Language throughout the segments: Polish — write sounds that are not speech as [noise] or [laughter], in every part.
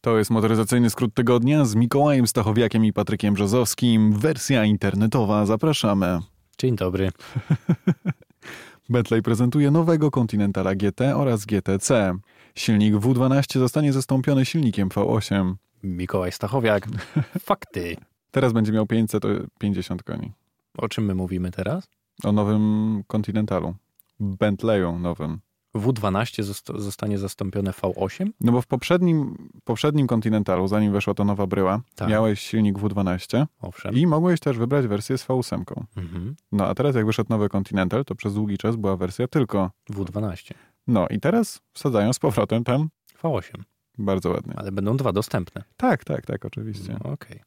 To jest motoryzacyjny skrót tygodnia z Mikołajem Stachowiakiem i Patrykiem Brzozowskim. Wersja internetowa. Zapraszamy. Dzień dobry. Bentley prezentuje nowego Continentala GT oraz GTC. Silnik W12 zostanie zastąpiony silnikiem V8. [laughs] Mikołaj Stachowiak. Fakty. Teraz będzie miał 550 koni. O czym my mówimy teraz? O nowym Continentalu. Bentleyu nowym. W12 zosta- zostanie zastąpione V8? No bo w poprzednim, poprzednim Continentalu, zanim weszła ta nowa bryła, Tak. miałeś silnik W12 Owszem. i mogłeś też wybrać wersję z V8. Mhm. No a teraz jak wyszedł nowy Continental, to przez długi czas była wersja tylko. W12. No i teraz wsadzają z powrotem tam. V8. Bardzo ładnie. Ale będą dwa dostępne. Tak, tak, tak, oczywiście. No, Okej.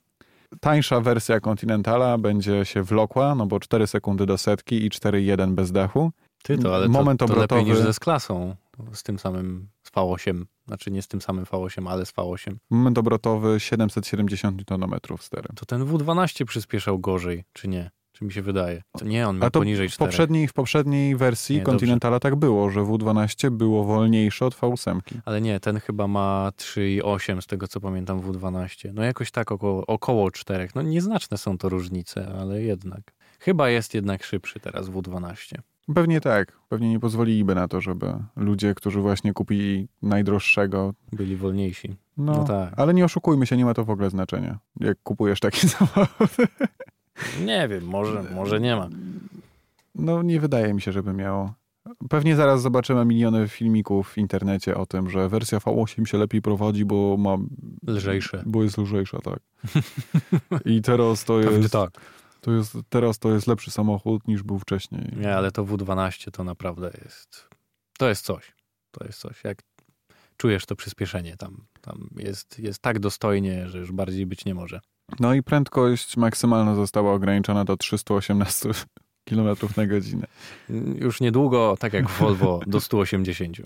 Tańsza wersja Continentala będzie się wlokła, no bo 4 sekundy do setki i 4,1 bez dachu. Ty to, ale Moment to, to lepiej obrotowy. niż ze z klasą. Z tym samym z V8. Znaczy nie z tym samym V8, ale z V8. Moment obrotowy 770 Nm stery. To ten W12 przyspieszał gorzej, czy nie? Czy mi się wydaje? To nie, on A miał to poniżej W 4. poprzedniej, w poprzedniej wersji Nie, dobrze. Continentala tak było, że W12 było wolniejsze od V8. Ale nie, ten chyba ma 3,8 z tego co pamiętam W12. No jakoś tak około, około 4. No nieznaczne są to różnice, ale jednak. Chyba jest jednak szybszy teraz W12. Pewnie tak. Pewnie nie pozwoliliby na to, żeby ludzie, którzy właśnie kupili najdroższego, Byli wolniejsi. no, No, tak. ale nie oszukujmy się, nie ma to w ogóle znaczenia, jak kupujesz taki [laughs] samochód. Nie wiem, może, może nie ma. No nie wydaje mi się, żeby miało. Pewnie zaraz zobaczymy miliony filmików w internecie o tym, że wersja V8 się lepiej prowadzi, bo ma... Lżejsze. Bo jest lżejsza, tak. I teraz to [laughs] Pewnie jest, tak. to jest... Teraz to jest lepszy samochód niż był wcześniej. Nie, ale to W12 to naprawdę jest. To jest coś. To jest coś. Jak czujesz to przyspieszenie tam. Tam jest, jest tak dostojnie, że już bardziej być nie może. No i prędkość maksymalna została ograniczona do [laughs] 318 km na godzinę. Już niedługo, tak jak w Volvo, do 180.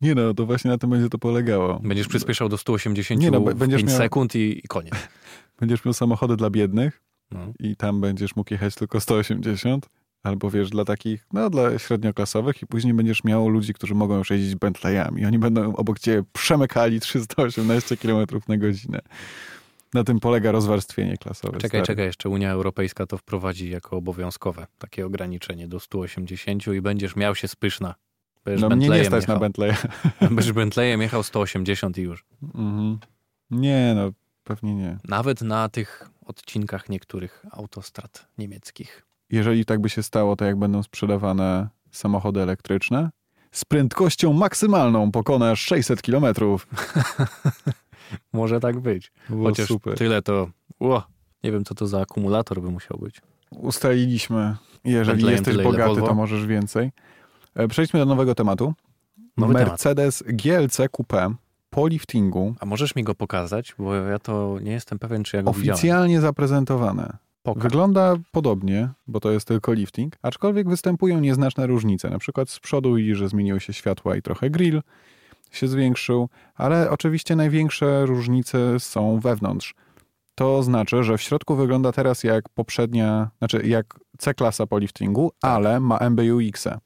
Nie no, to właśnie na tym będzie to polegało. Będziesz przyspieszał do 180 Nie, no, b- w będziesz 5 miał- sekund i, i koniec. Będziesz miał samochody dla biednych [laughs] No. i tam będziesz mógł jechać tylko 180, albo wiesz, dla takich, no dla średnioklasowych i później będziesz miał ludzi, którzy mogą już jeździć Bentleyami. Oni będą obok ciebie przemykali 318 km na godzinę. Na tym polega rozwarstwienie klasowe. Czekaj, stary. czekaj, jeszcze Unia Europejska to wprowadzi jako obowiązkowe takie ograniczenie do 180 i będziesz miał się spyszna. Będziesz No mnie nie Bentleyem stać na jechał. Bentley. [laughs] [laughs] Będziesz Bentleyem jechał 180 i już. Mhm. Nie no, pewnie nie. Nawet na tych odcinkach niektórych autostrad niemieckich. jeżeli tak by się stało, to jak będą sprzedawane samochody elektryczne? Z prędkością maksymalną pokonasz 600 km. Może tak być. Chociaż tyle to... Ło, nie wiem, co to za akumulator by musiał być. Ustaliliśmy, jeżeli Bentleyem jesteś tyle, ile bogaty, Volvo? to możesz więcej. E, Przejdźmy do nowego tematu. Nowy temat. Mercedes GLC Coupé po liftingu A możesz mi go pokazać? Bo ja to nie jestem pewien, czy ja go widziałem. oficjalnie zaprezentowane. Pokaż. Wygląda podobnie, bo to jest tylko lifting, aczkolwiek występują nieznaczne różnice. Na przykład z przodu widzisz, że zmieniły się światła i trochę grill się zwiększył, ale oczywiście największe różnice są wewnątrz. To znaczy, że w środku wygląda teraz jak poprzednia, znaczy jak C-klasa po liftingu, Tak. ale ma MBUX. -e.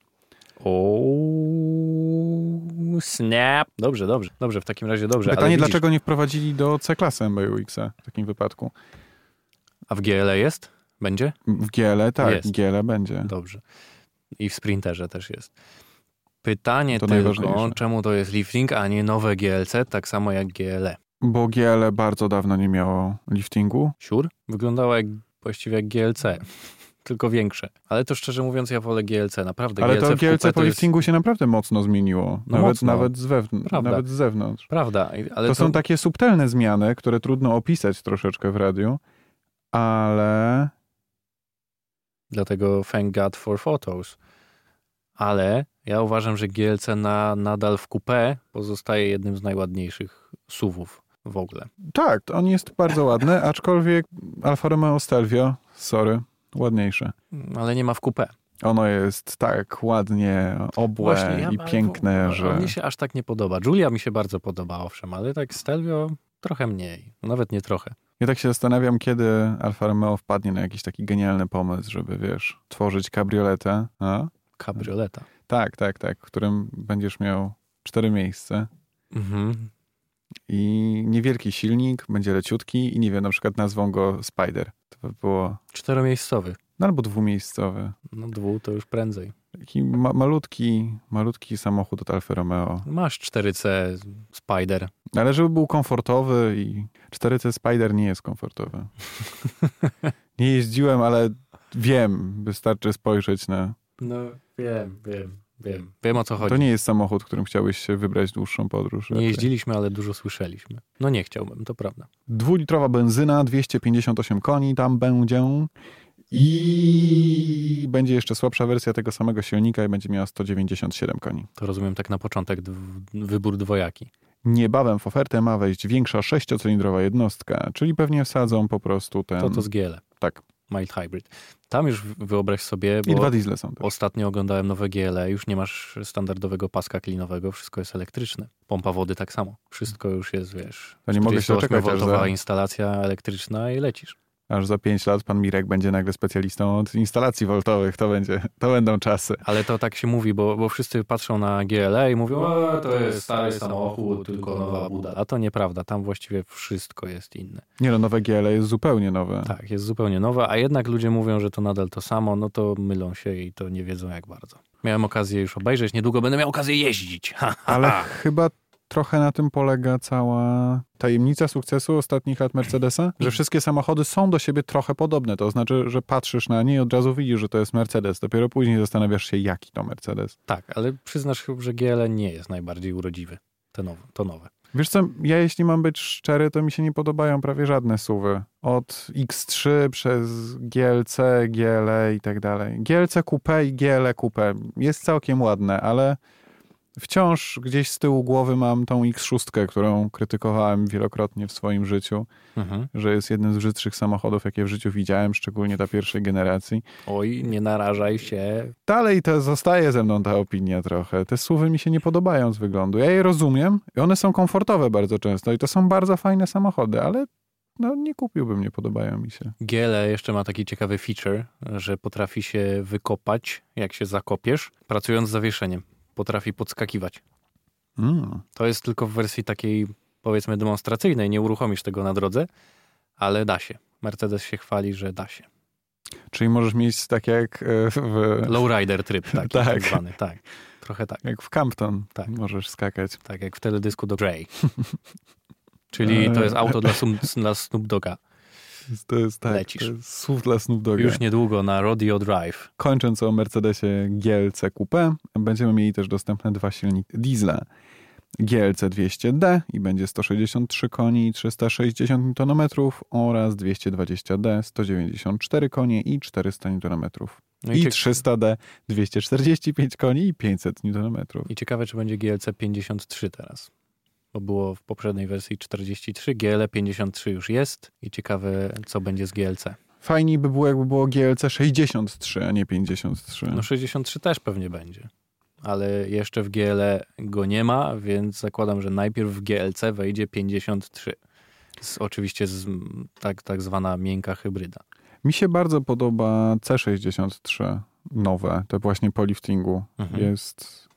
O, snap. Dobrze, dobrze, dobrze, w takim razie dobrze. ale Pytanie, widzisz, dlaczego nie wprowadzili do C-klasy MBUX -e w takim wypadku? A w GLE jest? Będzie? W GL tak, Jest. GL będzie. Dobrze. I w Sprinterze też jest. Pytanie To tylko, najważniejsze. czemu to jest lifting, a nie nowe GLC, tak samo jak GLE. Bo GL bardzo dawno nie miało liftingu, Siur? Wyglądało jak, właściwie jak GLC, [laughs] tylko większe. Ale to szczerze mówiąc, ja wolę GLC, naprawdę. Ale to w kupę GLC po jest liftingu się naprawdę mocno zmieniło. No nawet, mocno. Nawet, z wewn- Prawda. nawet z zewnątrz. Prawda, i- ale To, są takie subtelne zmiany, które trudno opisać troszeczkę w radiu, ale Dlatego thank God for photos. Ale ja uważam, że GLC na, nadal w coupé pozostaje jednym z najładniejszych suwów w ogóle. tak, to on jest bardzo [laughs] ładny, aczkolwiek Alfa Romeo Stelvio, sorry, ładniejsze. Ale nie ma w coupé. Ono jest tak ładnie obłe ja- i bo- piękne, bo- że... Mnie się aż tak nie podoba. Julia mi się bardzo podoba, owszem, ale tak Stelvio trochę mniej. Nawet nie trochę. Ja tak się zastanawiam, kiedy Alfa Romeo wpadnie na jakiś taki genialny pomysł, żeby, wiesz, tworzyć kabrioletę, a? Kabrioleta. Tak, tak, tak, w którym będziesz miał cztery miejsca. Mhm. i niewielki silnik, będzie leciutki i nie wiem, na przykład nazwą go Spider. To by było, Czteromiejscowy. no albo dwumiejscowy. No dwu to już prędzej. Taki ma- malutki, malutki samochód od Alfa Romeo. Masz 4C Spider. Ale żeby był komfortowy i 4C Spider nie jest komfortowy. Nie jeździłem, ale wiem, wystarczy spojrzeć na... No wiem, wiem, wiem. Wiem o co chodzi. To nie jest samochód, którym chciałeś się wybrać w dłuższą podróż. Nie raczej. jeździliśmy, ale dużo słyszeliśmy. No nie chciałbym, to prawda. Dwulitrowa benzyna, 258 koni tam będzie. I będzie jeszcze słabsza wersja tego samego silnika i będzie miała 197 koni. To rozumiem tak na początek dw- wybór dwojaki. Niebawem w ofertę ma wejść większa sześciocylindrowa jednostka, czyli pewnie wsadzą po prostu ten... To to z GL, Tak. mild hybrid. Tam już wyobraź sobie, I dwa bo diesle są. Też. ostatnio oglądałem nowe GL, już nie masz standardowego paska klinowego, wszystko jest elektryczne. Pompa wody tak samo. Wszystko już jest, wiesz, To nie mogę się doczekać, aż 48-woltowa za, instalacja elektryczna i lecisz. aż za 5 lat pan Mirek będzie nagle specjalistą od instalacji woltowych. To, będzie, to będą czasy. Ale to tak się mówi, bo, bo wszyscy patrzą na GLA i mówią, a to jest stary samochód, tylko nowa buda. A to nieprawda, tam właściwie wszystko jest inne. Nie no, nowe GLE jest zupełnie nowe. Tak, jest zupełnie nowa, a jednak ludzie mówią, że to nadal to samo, no to mylą się i to nie wiedzą jak bardzo. Miałem okazję już obejrzeć, niedługo będę miał okazję jeździć. Ha, ha, Ale ha. chyba trochę na tym polega cała tajemnica sukcesu ostatnich lat Mercedesa, że wszystkie samochody są do siebie trochę podobne. To znaczy, że patrzysz na nie i od razu widzisz, że to jest Mercedes. Dopiero później zastanawiasz się, jaki to Mercedes. Tak, ale przyznasz, chyba, że GL nie jest najbardziej urodziwy. Te nowe, to nowe. Wiesz co, ja jeśli mam być szczery, to mi się nie podobają prawie żadne suwy. Od X3 przez GLC, GLE i tak dalej. GLC Coupe i GLE Coupe. Jest całkiem ładne, ale wciąż gdzieś z tyłu głowy mam tą X6, którą krytykowałem wielokrotnie w swoim życiu, Mhm. że jest jednym z brzydszych samochodów, jakie w życiu widziałem, szczególnie ta pierwszej generacji. Oj, nie narażaj się. Dalej to zostaje ze mną ta opinia trochę. Te suwy mi się nie podobają z wyglądu. Ja je rozumiem i one są komfortowe bardzo często i to są bardzo fajne samochody, ale no nie kupiłbym, nie podobają mi się. GL E jeszcze ma taki ciekawy feature, że potrafi się wykopać, jak się zakopiesz, pracując z zawieszeniem. Potrafi podskakiwać. Mm. To jest tylko w wersji takiej, powiedzmy, demonstracyjnej. Nie uruchomisz tego na drodze, ale da się. Mercedes się chwali, że da się. Czyli możesz mieć tak jak e, w, Lowrider tryb taki tak. Tak. zwany, tak. Trochę tak, jak w Campton. Tak. Możesz skakać. tak jak w teledysku do Grey. Czyli to jest auto dla, sum, [laughs] dla Snoop Doga. To jest tak. Lecisz. To jest SUV dla Snoop Dogga. Już niedługo na Rodeo Drive. Kończąc o Mercedesie GLC Coupe, będziemy mieli też dostępne dwa silniki diesla. GLC 200D i będzie 163 koni i 360 Nm oraz 220D 194 konie i 400 Nm. No I cie- 300D 245 koni i 500 Nm. I ciekawe, czy będzie GLC 53 teraz. Bo było w poprzedniej wersji 43, GL 53 E już jest i ciekawe, co będzie z GLC. Fajniej by było, jakby było GLC 63, a nie 53. No 63 też pewnie będzie, ale jeszcze w GL go nie ma, więc zakładam, że najpierw w GLC wejdzie 53. Z, oczywiście z, m, tak, tak zwana miękka hybryda. Mi się bardzo podoba C63 nowe, to właśnie po liftingu. Mhm. Jest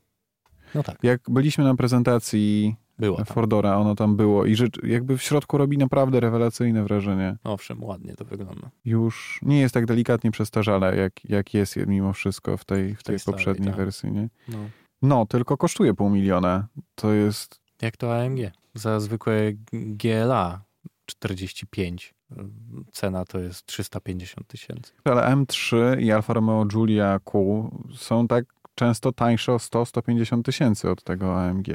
No tak, Jak byliśmy na prezentacji było. Tam. Fordora, ono tam było i rzecz, jakby w środku robi naprawdę rewelacyjne wrażenie. Owszem, ładnie to wygląda. Już nie jest tak delikatnie przestarzale, jak, jak jest je- mimo wszystko w tej, w tej tej starej, poprzedniej tak. wersji. Nie? No. No, tylko kosztuje pół miliona. To jest... Jak to AMG? Za zwykłe GLA 45. ym, Cena to jest 350 tysięcy. Ale M3 i Alfa Romeo Giulia Q są tak często tańsze o 100-150 tysięcy od tego AMG.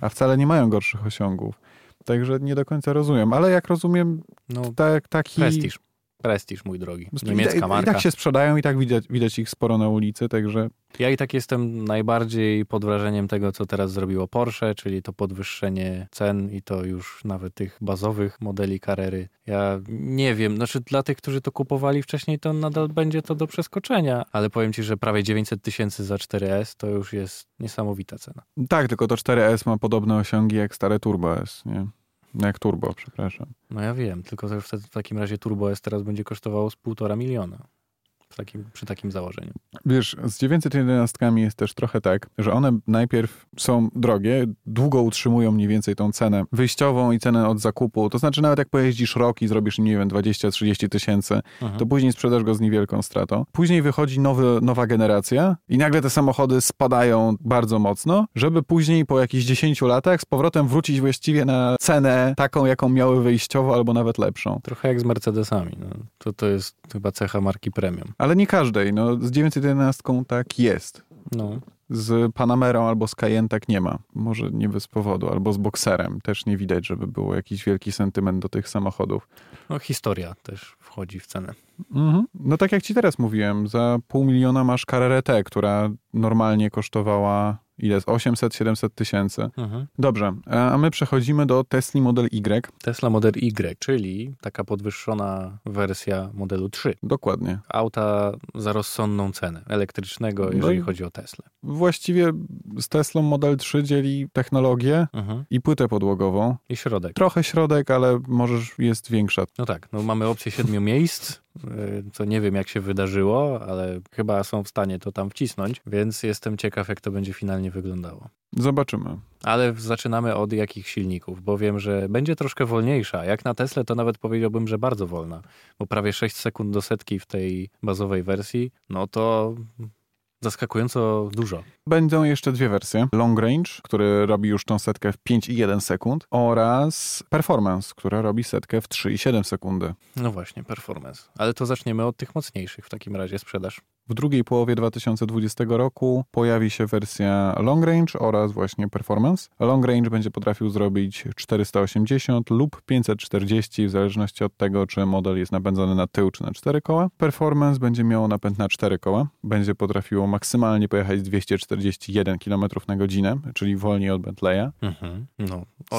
A wcale nie mają gorszych osiągów. Także nie do końca rozumiem. Ale jak rozumiem, No, tak, taki... prestiż. Prestiż, mój drogi. Widać- Niemiecka marka. I tak się sprzedają, i tak widać, widać ich sporo na ulicy, także Ja i tak jestem najbardziej pod wrażeniem tego, co teraz zrobiło Porsche, czyli to podwyższenie cen i to już nawet tych bazowych modeli Carrery. Ja nie wiem, znaczy dla tych, którzy to kupowali wcześniej, to nadal będzie to do przeskoczenia, ale powiem Ci, że prawie 900 tysięcy za 4S to już jest niesamowita cena. tak, tylko to 4S ma podobne osiągi jak stare Turbo S, nie? No Jak Turbo, przepraszam. No ja wiem, tylko to już wtedy w takim razie Turbo S teraz będzie kosztowało z półtora miliona. w takim, przy takim założeniu. Wiesz, z 911 jest też trochę tak, że one najpierw są drogie, długo utrzymują mniej więcej tą cenę wyjściową i cenę od zakupu. To znaczy, nawet jak pojeździsz rok i zrobisz, nie wiem, 20-30 tysięcy, Mhm. to później sprzedasz go z niewielką stratą. Później wychodzi nowy, nowa generacja i nagle te samochody spadają bardzo mocno, żeby później po jakichś 10 latach z powrotem wrócić właściwie na cenę taką, jaką miały wyjściowo, albo nawet lepszą. Trochę jak z Mercedesami. No. To, to jest chyba cecha marki premium. Ale nie każdej, no z 911 tak jest. No. Z Panamerą albo z Cayenne tak nie ma. Może nie bez powodu, albo z Boxerem. Też nie widać, żeby było jakiś wielki sentyment do tych samochodów. no, historia też wchodzi w cenę. Mhm. No tak jak ci teraz mówiłem, za pół miliona masz Carrera T, która normalnie kosztowała ile? 800-700 tysięcy. Mhm. Dobrze, e, a my przechodzimy do Tesla Model Y. Tesla Model Y, czyli taka podwyższona wersja modelu 3. Dokładnie. Auta za rozsądną cenę elektrycznego, No jeżeli i- chodzi o Tesla. Właściwie z Teslą Model 3 dzieli technologię Mhm. i płytę podłogową. I środek. Trochę środek, ale możesz, jest większa. No tak, no mamy opcję siedmiu [laughs] miejsc, y, co nie wiem jak się wydarzyło, ale chyba są w stanie to tam wcisnąć, więc jestem ciekaw jak to będzie finalnie wyglądało. Zobaczymy. Ale zaczynamy od jakich silników, bo wiem, że będzie troszkę wolniejsza. Jak na Tesle to nawet powiedziałbym, że bardzo wolna, bo prawie 6 sekund do setki w tej bazowej wersji, no to zaskakująco dużo. Będą jeszcze dwie wersje. Long Range, który robi już tą setkę w 5,1 sekund oraz Performance, która robi setkę w 3,7 sekundy. No właśnie, performance. Ale to zaczniemy od tych mocniejszych w takim razie sprzedaż. W drugiej połowie 2020 roku pojawi się wersja Long Range oraz właśnie Performance. Long Range będzie potrafił zrobić 480 lub 540 w zależności od tego, czy model jest napędzany na tył czy na cztery koła. Performance będzie miało napęd na cztery koła. Będzie potrafiło maksymalnie pojechać 241 km na godzinę, czyli wolniej od Bentleya. No, Mhm.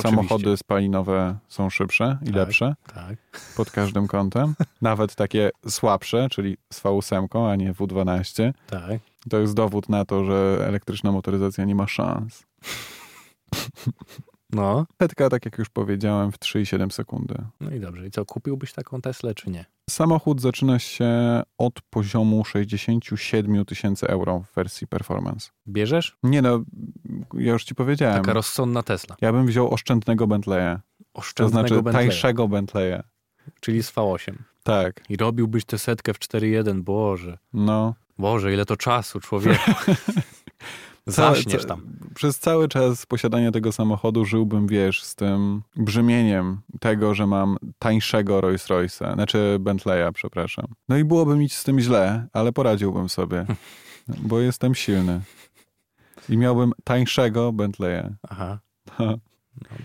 Samochody spalinowe są szybsze i Tak. lepsze Tak. pod każdym kątem. Nawet takie słabsze, czyli z V8, a nie W12. Tak. To jest dowód na to, że elektryczna motoryzacja nie ma szans. No. Petka, tak jak już powiedziałem, w 3,7 sekundy. No i dobrze. I co, kupiłbyś taką Teslę czy nie? Samochód zaczyna się od poziomu 67 000 tysięcy euro w wersji performance. Bierzesz? Nie no, ja już ci powiedziałem. Taka rozsądna Tesla. Ja bym wziął oszczędnego Bentleya. To Oszczędnego Tak. znaczy Bentleya, tańszego Bentleya. czyli z V8. Tak, I robiłbyś tę setkę w 4.1, Boże. no. Boże, ile to czasu, człowieku. Zaśniesz tam. przez cały czas posiadania tego samochodu żyłbym, wiesz, z tym brzmieniem tego, że mam tańszego Rolls Royce'a, znaczy Bentleya, przepraszam. No i byłoby mi z tym źle, ale poradziłbym sobie, bo jestem silny. I miałbym tańszego Bentleya. Aha. No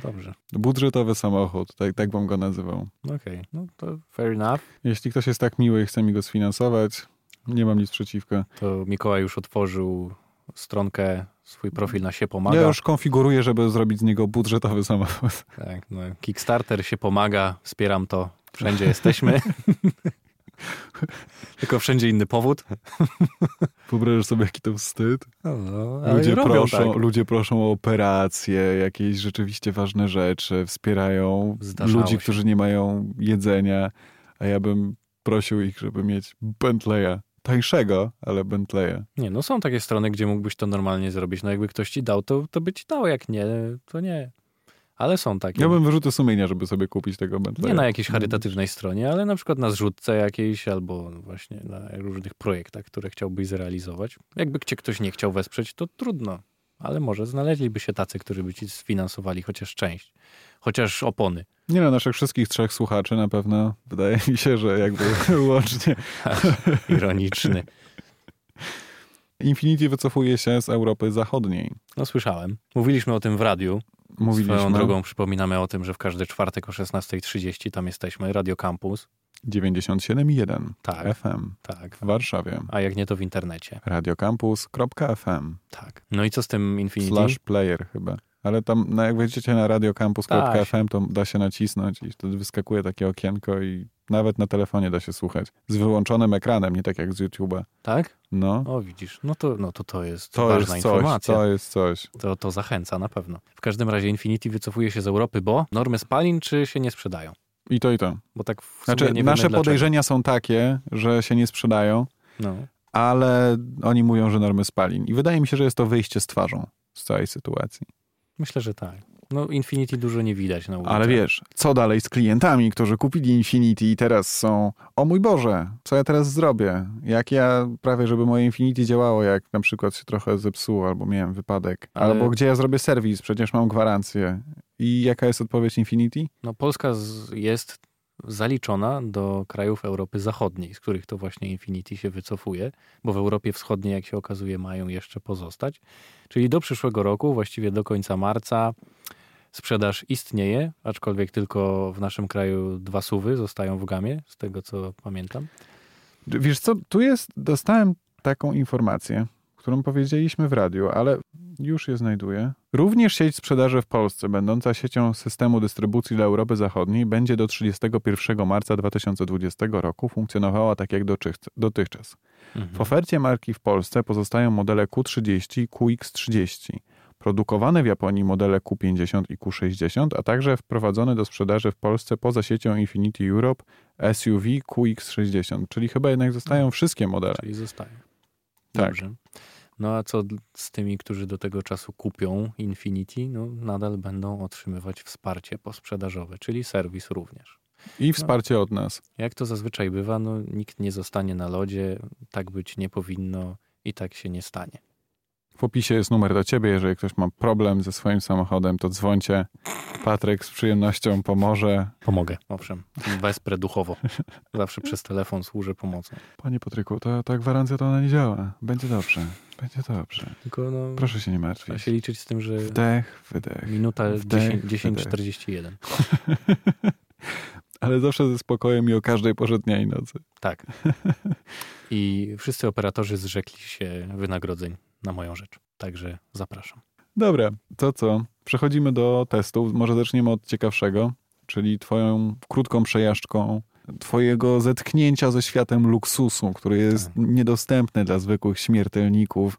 dobrze. Budżetowy samochód, tak, tak bym go nazywał. No Okej, no to fair enough. Jeśli ktoś jest tak miły i chce mi go sfinansować, nie mam nic przeciwko. To Mikołaj już otworzył stronkę, swój profil na się pomaga. Ja już konfiguruję, żeby zrobić z niego budżetowy samochód. [laughs] Tak, no, Kickstarter się pomaga, wspieram to. Wszędzie jesteśmy. [laughs] Tylko wszędzie inny powód. Wyobrażasz sobie, jaki to wstyd? No, no, ale Ludzie robią proszą, tak. ludzie proszą o operacje, jakieś rzeczywiście ważne rzeczy, wspierają Zdarzało ludzi, się. którzy nie mają jedzenia, a ja bym prosił ich, żeby mieć Bentleya. Tańszego, ale Bentleya. Nie, no są takie strony, gdzie mógłbyś to normalnie zrobić. No jakby ktoś ci dał, to, to by ci dał, jak nie, to nie. Ale są takie. Ja bym wyrzuty sumienia, żeby sobie kupić tego Bentleya. Nie na jakiejś charytatywnej stronie, ale na przykład na zrzutce jakiejś albo właśnie na różnych projektach, które chciałbyś zrealizować. Jakby cię ktoś nie chciał wesprzeć, to trudno, ale może znaleźliby się tacy, którzy by ci sfinansowali chociaż część, chociaż opony. [laughs] Mm. Nie na naszych wszystkich trzech słuchaczy na pewno wydaje mi się, że jakby [laughs] łącznie. Ironiczny. Infinity wycofuje się z Europy Zachodniej. No słyszałem. Mówiliśmy o tym w radiu. Mówiliśmy Swoją drogą przypominamy o tym, że w każdy czwartek o 16.30 tam jesteśmy, Radio Campus. 97,1 Tak, FM tak. w Warszawie. A jak nie, to w internecie. Radiocampus.fm Tak. No i co z tym Infinity? Slash player chyba. Ale tam, no jak wejdziecie na Tak. radiocampus.fm, to da się nacisnąć i wtedy wyskakuje takie okienko i nawet na telefonie da się słuchać. Z wyłączonym ekranem, nie tak jak z YouTube'a. Tak? No, O, widzisz. No to, no to, to jest to ważna jest coś, informacja. to jest coś. To, to zachęca na pewno. W każdym razie Infinity wycofuje się z Europy, bo normy spalin czy się nie sprzedają? I to, i to. Bo tak w sumie Znaczy, nie wiemy nasze dlaczego. podejrzenia są takie, że się nie sprzedają, No. ale oni mówią, że normy spalin. I wydaje mi się, że jest to wyjście z twarzą z całej sytuacji. Myślę, że tak. No Infinity dużo nie widać na ulicy. Ale wiesz, co dalej z klientami, którzy kupili Infinity i teraz są, o mój Boże, co ja teraz zrobię? Jak ja prawie, żeby moje Infinity działało, jak na przykład się trochę zepsuło, albo miałem wypadek, Ale- albo gdzie ja zrobię serwis, przecież mam gwarancję. I jaka jest odpowiedź Infinity? No Polska z, jest zaliczona do krajów Europy Zachodniej, z których to właśnie Infinity się wycofuje, bo w Europie Wschodniej, jak się okazuje, mają jeszcze pozostać. Czyli do przyszłego roku, właściwie do końca marca, sprzedaż istnieje, aczkolwiek tylko w naszym kraju dwa suwy zostają w gamie, z tego co pamiętam. Wiesz co, tu jest, dostałem taką informację, którą powiedzieliśmy w radiu, ale już je znajduję. Również sieć sprzedaży w Polsce, będąca siecią systemu dystrybucji dla Europy Zachodniej, będzie do 31 marca 2020 roku funkcjonowała tak jak dotychc- dotychczas. W ofercie marki w Polsce pozostają modele Q30 i QX30. Produkowane w Japonii modele Q50 i Q60, a także wprowadzone do sprzedaży w Polsce poza siecią Infinity Europe SUV QX60, czyli chyba jednak zostają wszystkie modele. Czyli zostają. Tak. Dobrze. No a co d- z tymi, którzy do tego czasu kupią Infinity? No nadal będą otrzymywać wsparcie posprzedażowe, czyli serwis również. I wsparcie od nas. Jak to zazwyczaj bywa, no nikt nie zostanie na lodzie, tak być nie powinno i tak się nie stanie. W opisie jest numer do ciebie, jeżeli ktoś ma problem ze swoim samochodem, to dzwońcie. Patryk z przyjemnością pomoże. Pomogę, owszem, wesprę duchowo. Zawsze przez telefon służę pomocą. Panie Patryku, ta, ta gwarancja to ona nie działa. Będzie dobrze, będzie dobrze. Tylko no, Proszę się nie trzeba martwić. się liczyć z tym, że Wdech, wydech. minuta wdech, 10- wydech. 10.41. Ale zawsze ze spokojem i o każdej porze dnia i nocy. [laughs] Tak. I wszyscy operatorzy zrzekli się wynagrodzeń na moją rzecz. Także zapraszam. Dobra, to co? Przechodzimy do testów. Może zaczniemy od ciekawszego, czyli twoją krótką przejażdżką, twojego zetknięcia ze światem luksusu, który jest Tak. niedostępny dla zwykłych śmiertelników.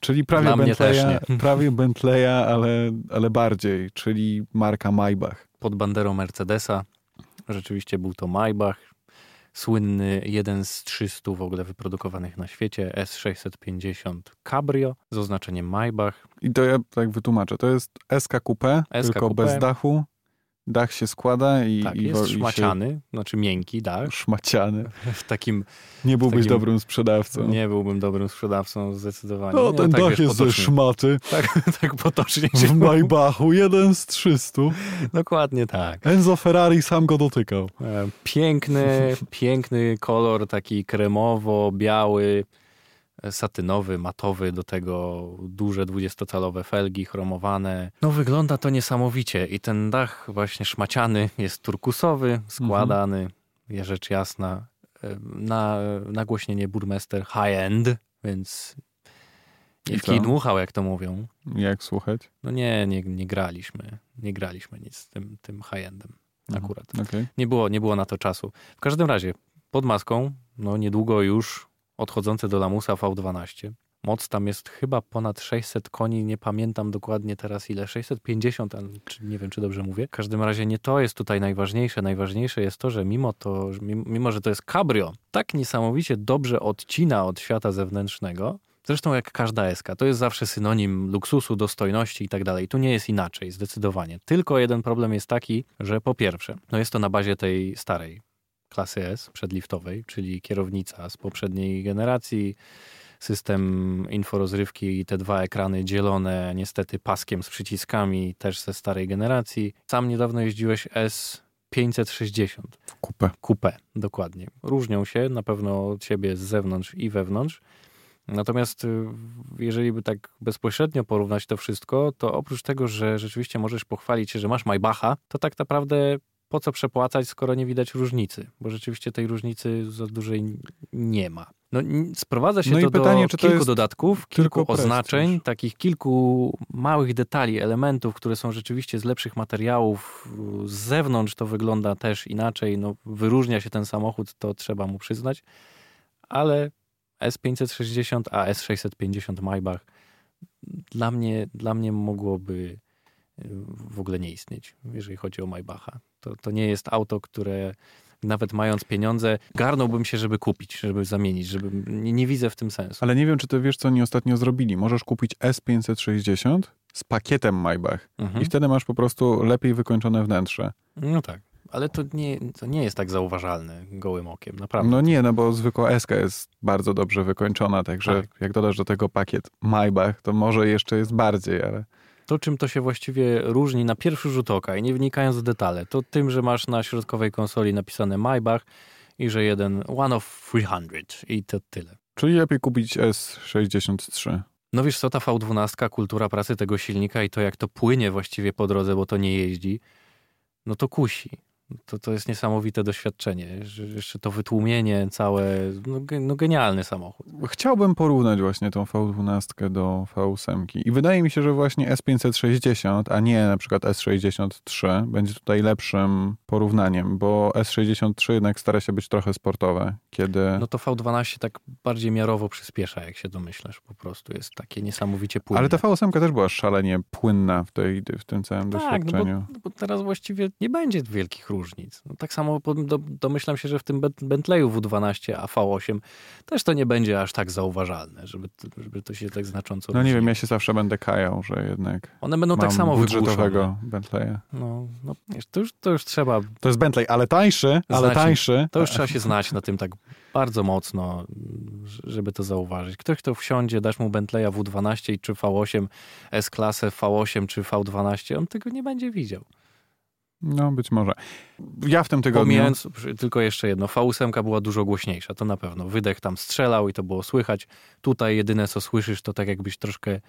Czyli prawie Dla mnie też Bentleya, prawie Bentleya ale, ale bardziej, czyli marka Maybach. Pod banderą Mercedesa. Rzeczywiście był to Maybach. Słynny jeden z 300 w ogóle wyprodukowanych na świecie S650 Cabrio z oznaczeniem Maybach. I to ja tak wytłumaczę. To jest SK Coupe, SK tylko Coupé. bez dachu. Dach się składa i, Tak, i, jest wo- i się szmaciany, znaczy miękki, tak? szmaciany. [laughs] W takim Nie byłbyś takim- dobrym sprzedawcą. nie byłbym dobrym sprzedawcą zdecydowanie. No, Nie, ten tak, dach wiesz, jest ze potocznie. szmaty. [laughs] tak, [laughs] tak potocznie. W Maybachu, jeden z 300. Dokładnie tak. Enzo Ferrari sam go dotykał. E, [laughs] Piękny, piękny kolor, taki kremowo-biały, e, satynowy, matowy, do tego duże 20-calowe felgi chromowane. No wygląda to niesamowicie i ten dach właśnie szmaciany jest turkusowy, składany, ja rzecz jasna. e, Na nagłośnienie burmester high-end, więc nie I w co? kij dmuchał, jak to mówią. Jak słuchać? No nie, nie, nie graliśmy. Nie graliśmy nic z tym, tym high-endem Mhm. akurat. Okej. Nie było, nie było na to czasu. W każdym razie, pod maską, no niedługo już odchodzące do lamusa V12. Moc tam jest chyba ponad 600 koni, nie pamiętam dokładnie teraz ile, 650, ale czy- nie wiem czy dobrze mówię. W każdym razie nie to jest tutaj najważniejsze. Najważniejsze jest to, że mimo to, że mimo- mimo że to jest cabrio, tak niesamowicie dobrze odcina od świata zewnętrznego. Zresztą jak każda SK, to jest zawsze synonim luksusu, dostojności i tak dalej. Tu nie jest inaczej, zdecydowanie. Tylko jeden problem jest taki, że po pierwsze, no jest to na bazie tej starej klasy S przedliftowej, czyli kierownica z poprzedniej generacji, system inforozrywki i te dwa ekrany dzielone niestety paskiem z przyciskami też ze starej generacji. Sam niedawno jeździłeś S560 Kupę. coupé, dokładnie. Różnią się na pewno od siebie z zewnątrz i wewnątrz. Natomiast y, jeżeli by tak bezpośrednio porównać to wszystko, to oprócz tego, że rzeczywiście możesz pochwalić się, że masz Maybacha, to tak naprawdę po co przepłacać, skoro nie widać różnicy? Bo rzeczywiście tej różnicy za dużej nie ma. No, n- sprowadza się No i to pytanie, do czy to kilku jest dodatków, tylko kilku prestiż? oznaczeń, takich kilku małych detali, elementów, które są rzeczywiście z lepszych materiałów. Z zewnątrz to wygląda też inaczej. No, wyróżnia się ten samochód, to trzeba mu przyznać. Ale S560, a S650 Maybach dla mnie, dla mnie mogłoby y, w ogóle nie istnieć, jeżeli chodzi o Maybacha. To, to nie jest auto, które nawet mając pieniądze, garnąłbym się, żeby kupić, żeby zamienić, żeby nie, nie widzę w tym sensu. Ale nie wiem, czy ty wiesz, co oni ostatnio zrobili. Możesz kupić S560 z pakietem Maybach Mhm. i wtedy masz po prostu lepiej wykończone wnętrze. No tak. Ale to nie, to nie jest tak zauważalne gołym okiem, naprawdę. No nie, no bo zwykła S jest bardzo dobrze wykończona, także jak dodasz do tego pakiet Maybach, to może jeszcze jest bardziej, ale To, czym to się właściwie różni na pierwszy rzut oka i nie wnikając w detale, to tym, że masz na środkowej konsoli napisane Maybach i że jeden one of 300 i to tyle. czyli lepiej kupić S63. No wiesz co, ta V12, kultura pracy tego silnika i to, jak to płynie właściwie po drodze, bo to nie jeździ, no to kusi. To, to jest niesamowite doświadczenie. że Jeszcze to wytłumienie całe, no, ge- no genialny samochód. Chciałbym porównać właśnie tą V12 do V8 i wydaje mi się, że właśnie S560, a nie na przykład S63 będzie tutaj lepszym porównaniem, bo S63 jednak stara się być trochę sportowe, kiedy... No to V12 tak bardziej miarowo przyspiesza, jak się domyślasz. Po prostu jest takie niesamowicie płynne. Ale ta V8 też była szalenie płynna w, tej, w tym całym Tak, no bo, doświadczeniu. no bo teraz właściwie nie będzie wielkich różnic. No, tak samo po- do, domyślam się, że w tym Bent- Bentleyu W12, a V8 też to nie będzie aż tak zauważalne, żeby, t- żeby to się tak znacząco No nie różniło. wiem, ja się zawsze będę kajał, że jednak One będą mam tak samo wygłuszone. budżetowego Bentleya. No, no, wiesz, to, już, to już trzeba To jest Bentley, ale tańszy, ale Znaczy, tańszy. To już trzeba się znać na tym tak bardzo mocno, ż- żeby to zauważyć. Ktoś, kto wsiądzie, dasz mu Bentleya W12 i czy V8, S-klasę V8 czy V12, on tego nie będzie widział. No być może. Ja w tym tygodniu... Pomijając przy- tylko jeszcze jedno, V8 była dużo głośniejsza, to na pewno. Wydech tam strzelał i to było słychać. Tutaj jedyne, co słyszysz, to tak jakbyś troszkę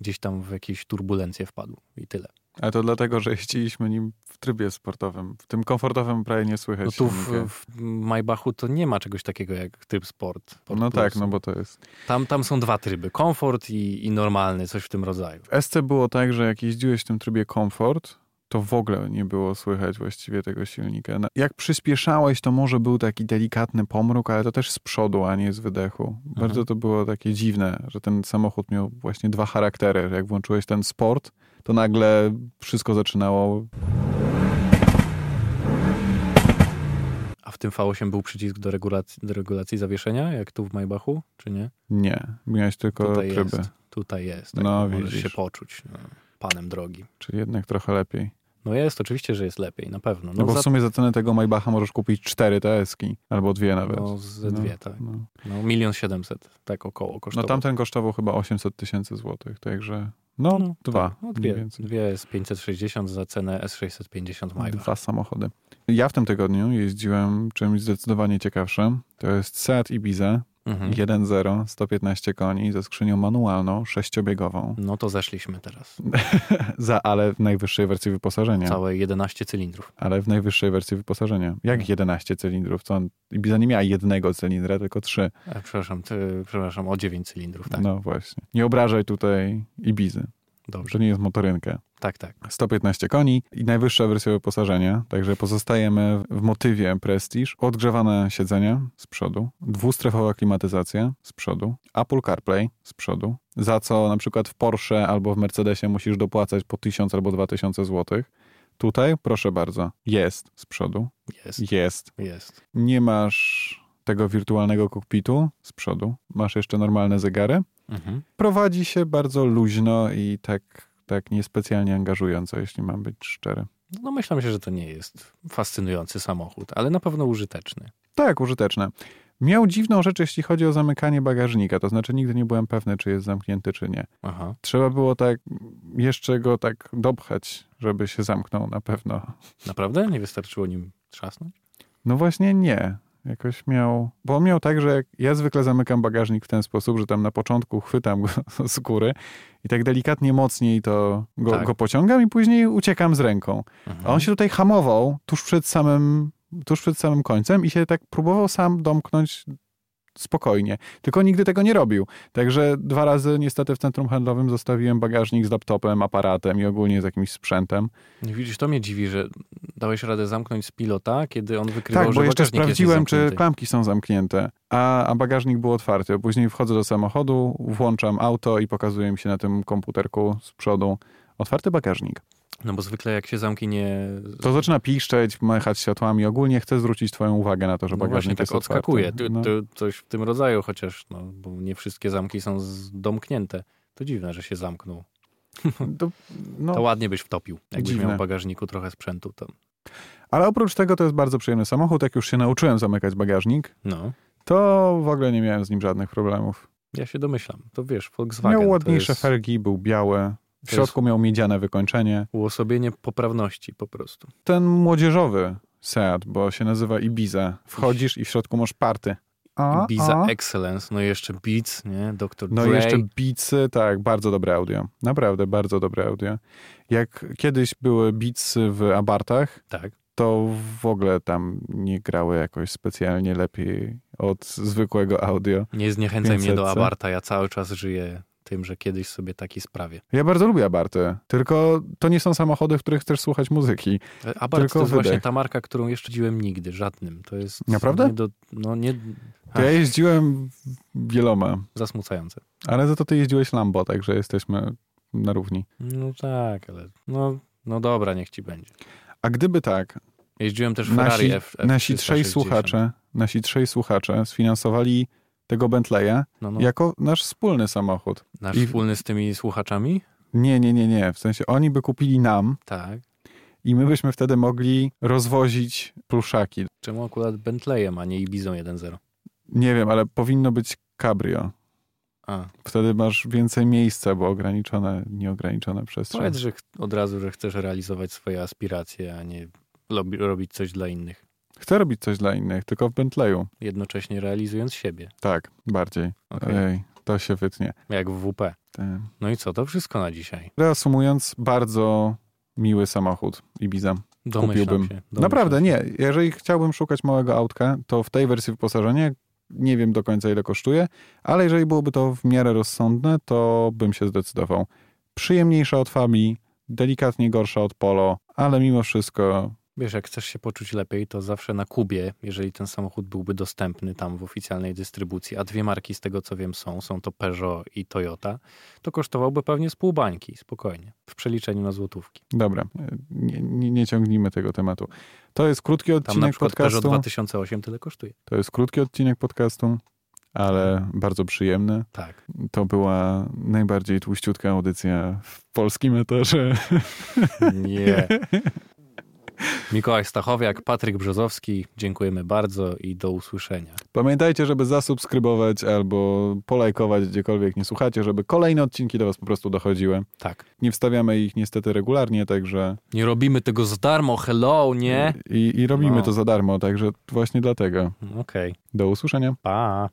gdzieś tam w jakieś turbulencje wpadł i tyle. Ale to dlatego, że jeździliśmy nim w trybie sportowym. W tym komfortowym prawie nie słychać. No tu w, silnika. w Maybachu to nie ma czegoś takiego jak tryb sport. Sport no tak, Plus. no bo to jest. Tam, tam są dwa tryby, komfort i, i normalny, coś w tym rodzaju. W SC było tak, że jak jeździłeś w tym trybie komfort, to w ogóle nie było słychać właściwie tego silnika. Na- Jak przyspieszałeś, to może był taki delikatny pomruk, ale to też z przodu, a nie z wydechu. Mhm. Bardzo to było takie dziwne, że ten samochód miał właśnie dwa charaktery. Jak włączyłeś ten sport, to nagle wszystko zaczynało. A w tym V8 był przycisk do regulacji, do regulacji zawieszenia, jak tu w Maybachu, czy nie? Nie, miałeś tylko Tutaj tryby. jest. Tutaj jest. Tak No, możesz widzisz. się poczuć no, panem drogi. Czyli jednak trochę lepiej. No jest, oczywiście, że jest lepiej, na pewno. No bo za- w sumie za cenę tego Maybacha możesz kupić cztery TS-ki, albo dwie nawet. no ze dwie, No, tak. No, No milion siedemset, tak około no kosztowało. tamten kosztował chyba 800 tysięcy złotych, także no, No, dwa. tak, no, mniej dwie, więcej. No, dwie jest 560 za cenę S650 Maybach. Dwa samochody. Ja w tym tygodniu jeździłem czymś zdecydowanie ciekawszym. To jest Seat Ibiza Mhm. 1.0, 115 koni ze skrzynią manualną, sześciobiegową. No to zeszliśmy teraz. Za, ale w najwyższej wersji wyposażenia. Całe 11 cylindrów. Ale w najwyższej wersji wyposażenia. Jak 11 cylindrów? Co on, Ibiza nie miała jednego cylindra, tylko trzy. E, przepraszam, ty, przepraszam, o 9 cylindrów, tak. No właśnie. Nie obrażaj tutaj Ibizy, Dobrze, że nie jest motorynka. tak, tak. 115 koni i najwyższa wersja wyposażenia, także pozostajemy w motywie Prestige. Odgrzewane siedzenia z przodu, dwustrefowa klimatyzacja z przodu, Apple CarPlay z przodu, za co na przykład w Porsche albo w Mercedesie musisz dopłacać po 1000 albo 2000 zł. Tutaj, proszę bardzo, jest z przodu, Jest, jest. jest. Nie masz tego wirtualnego kokpitu z przodu, masz jeszcze normalne zegary Mhm. prowadzi się bardzo luźno i tak, tak niespecjalnie angażująco, jeśli mam być szczery. No myślę, że to nie jest fascynujący samochód, ale na pewno użyteczny. Tak, użyteczne. Miał dziwną rzecz, jeśli chodzi o zamykanie bagażnika, to znaczy nigdy nie byłem pewny, czy jest zamknięty, czy nie. Aha. Trzeba było tak jeszcze go tak dopchać, żeby się zamknął na pewno. Naprawdę? Nie wystarczyło nim trzasnąć? No właśnie nie. Jakoś miał. Bo on miał tak, że jak ja zwykle zamykam bagażnik w ten sposób, że tam na początku chwytam go [laughs] z góry i tak delikatnie mocniej to go, Tak. No. go pociągam i później uciekam z ręką. A on się tutaj hamował tuż przed samym, tuż przed samym końcem i się tak próbował sam domknąć spokojnie. Tylko nigdy tego nie robił. Także dwa razy niestety w centrum handlowym zostawiłem bagażnik z laptopem, aparatem i ogólnie z jakimś sprzętem. Widzisz, to mnie dziwi, że dałeś radę zamknąć z pilota, kiedy on wykrywał, tak, że bo jeszcze bagażnik jest sprawdziłem, czy niezamknięty. klamki są zamknięte, a, a bagażnik był otwarty. Później wchodzę do samochodu, włączam auto i pokazuje mi się na tym komputerku z przodu otwarty bagażnik. No bo zwykle jak się zamknie, To zaczyna piszczeć, machać światłami. Ogólnie chcę zwrócić twoją uwagę na to, że no właśnie bagażnik tak jest otwarty. odskakuje. Tu, No. tu, coś w tym rodzaju, chociaż no, bo nie wszystkie zamki są zdomknięte. To dziwne, że się zamknął. [laughs] To, no. To ładnie byś wtopił, jakbyś Dziwne. miał w bagażniku trochę sprzętu. To, Ale oprócz tego to jest bardzo przyjemny samochód. Jak już się nauczyłem zamykać bagażnik, no, to w ogóle nie miałem z nim żadnych problemów. ja się domyślam. To wiesz, Volkswagen miał ładniejsze to jest felgi, był biały. W to środku miał miedziane wykończenie. uosobienie poprawności po prostu. Ten młodzieżowy Seat, bo się nazywa Ibiza. Wchodzisz i w środku masz party. A, Biza a. Excellence, no i jeszcze Beats, nie? Dr. No i Dre. jeszcze bicy, tak, bardzo dobre audio. Naprawdę bardzo dobre audio. Jak kiedyś były bicy w Abartach, Tak. to w ogóle tam nie grały jakoś specjalnie lepiej od zwykłego audio. Nie zniechęcaj mnie do 500. Abarta, ja cały czas żyję tym, że kiedyś sobie taki sprawię. Ja bardzo lubię Abarty, tylko to nie są samochody, w których chcesz słuchać muzyki. E, Abart Tylko to jest wydech. właśnie ta marka, którą jeszcze jeździłem nigdy, żadnym. To jest Naprawdę? Nie do, no nie To ja jeździłem wieloma, zasmucające. ale za to ty jeździłeś Lambo, także jesteśmy na równi. No tak, ale no, no dobra, niech ci będzie. A gdyby tak, Jeździłem też Ferrari nasi, F, F nasi trzej słuchacze, nasi trzej słuchacze sfinansowali tego Bentleya No, no, jako nasz wspólny samochód. nasz i- wspólny z tymi słuchaczami? Nie, nie, nie, nie. W sensie oni by kupili nam Tak. i my byśmy wtedy mogli rozwozić pluszaki Czemu akurat Bentleyem, a nie Ibizą 1.0? Nie wiem, ale powinno być cabrio. A, Wtedy masz więcej miejsca, bo ograniczone, nieograniczone przestrzeń. powiedz że ch- od razu, że chcesz realizować swoje aspiracje, a nie lobi- robić coś dla innych, Chcę robić coś dla innych, tylko w Bentleyu. jednocześnie realizując siebie. Tak, bardziej. Okej. Ej, to się wytnie. Jak w WP. Te- No i co, to wszystko na dzisiaj. Reasumując, bardzo miły samochód Ibiza. Domyślam Kupiłbym. się. Domyślam Naprawdę, się. nie. Jeżeli chciałbym szukać małego autka, to w tej wersji wyposażenia nie wiem do końca ile kosztuje, ale jeżeli byłoby to w miarę rozsądne, to bym się zdecydował. Przyjemniejsza od Fabii, delikatnie gorsza od Polo, ale mimo wszystko Wiesz, jak chcesz się poczuć lepiej, to zawsze na Kubie, jeżeli ten samochód byłby dostępny tam w oficjalnej dystrybucji, a dwie marki z tego co wiem są, są to Peugeot i Toyota, to kosztowałby pewnie z pół bańki, spokojnie, w przeliczeniu na złotówki. Dobra, nie, nie, nie ciągnijmy tego tematu. To jest krótki Tam na odcinek przykład Peugeot podcastu. 2008 tyle kosztuje. To jest krótki odcinek podcastu, ale Mhm. bardzo przyjemny. Tak. To była najbardziej tłuściutka audycja w polskim eterze. Nie. Mikołaj Stachowiak, Patryk Brzozowski, dziękujemy bardzo i do usłyszenia. Pamiętajcie, żeby zasubskrybować albo polajkować gdziekolwiek nie słuchacie, żeby kolejne odcinki do was po prostu dochodziły. Tak. Nie wstawiamy ich niestety regularnie, także Nie robimy tego za darmo, hello, nie? i, i robimy No. to za darmo, także właśnie dlatego. Okej, Do usłyszenia. pa.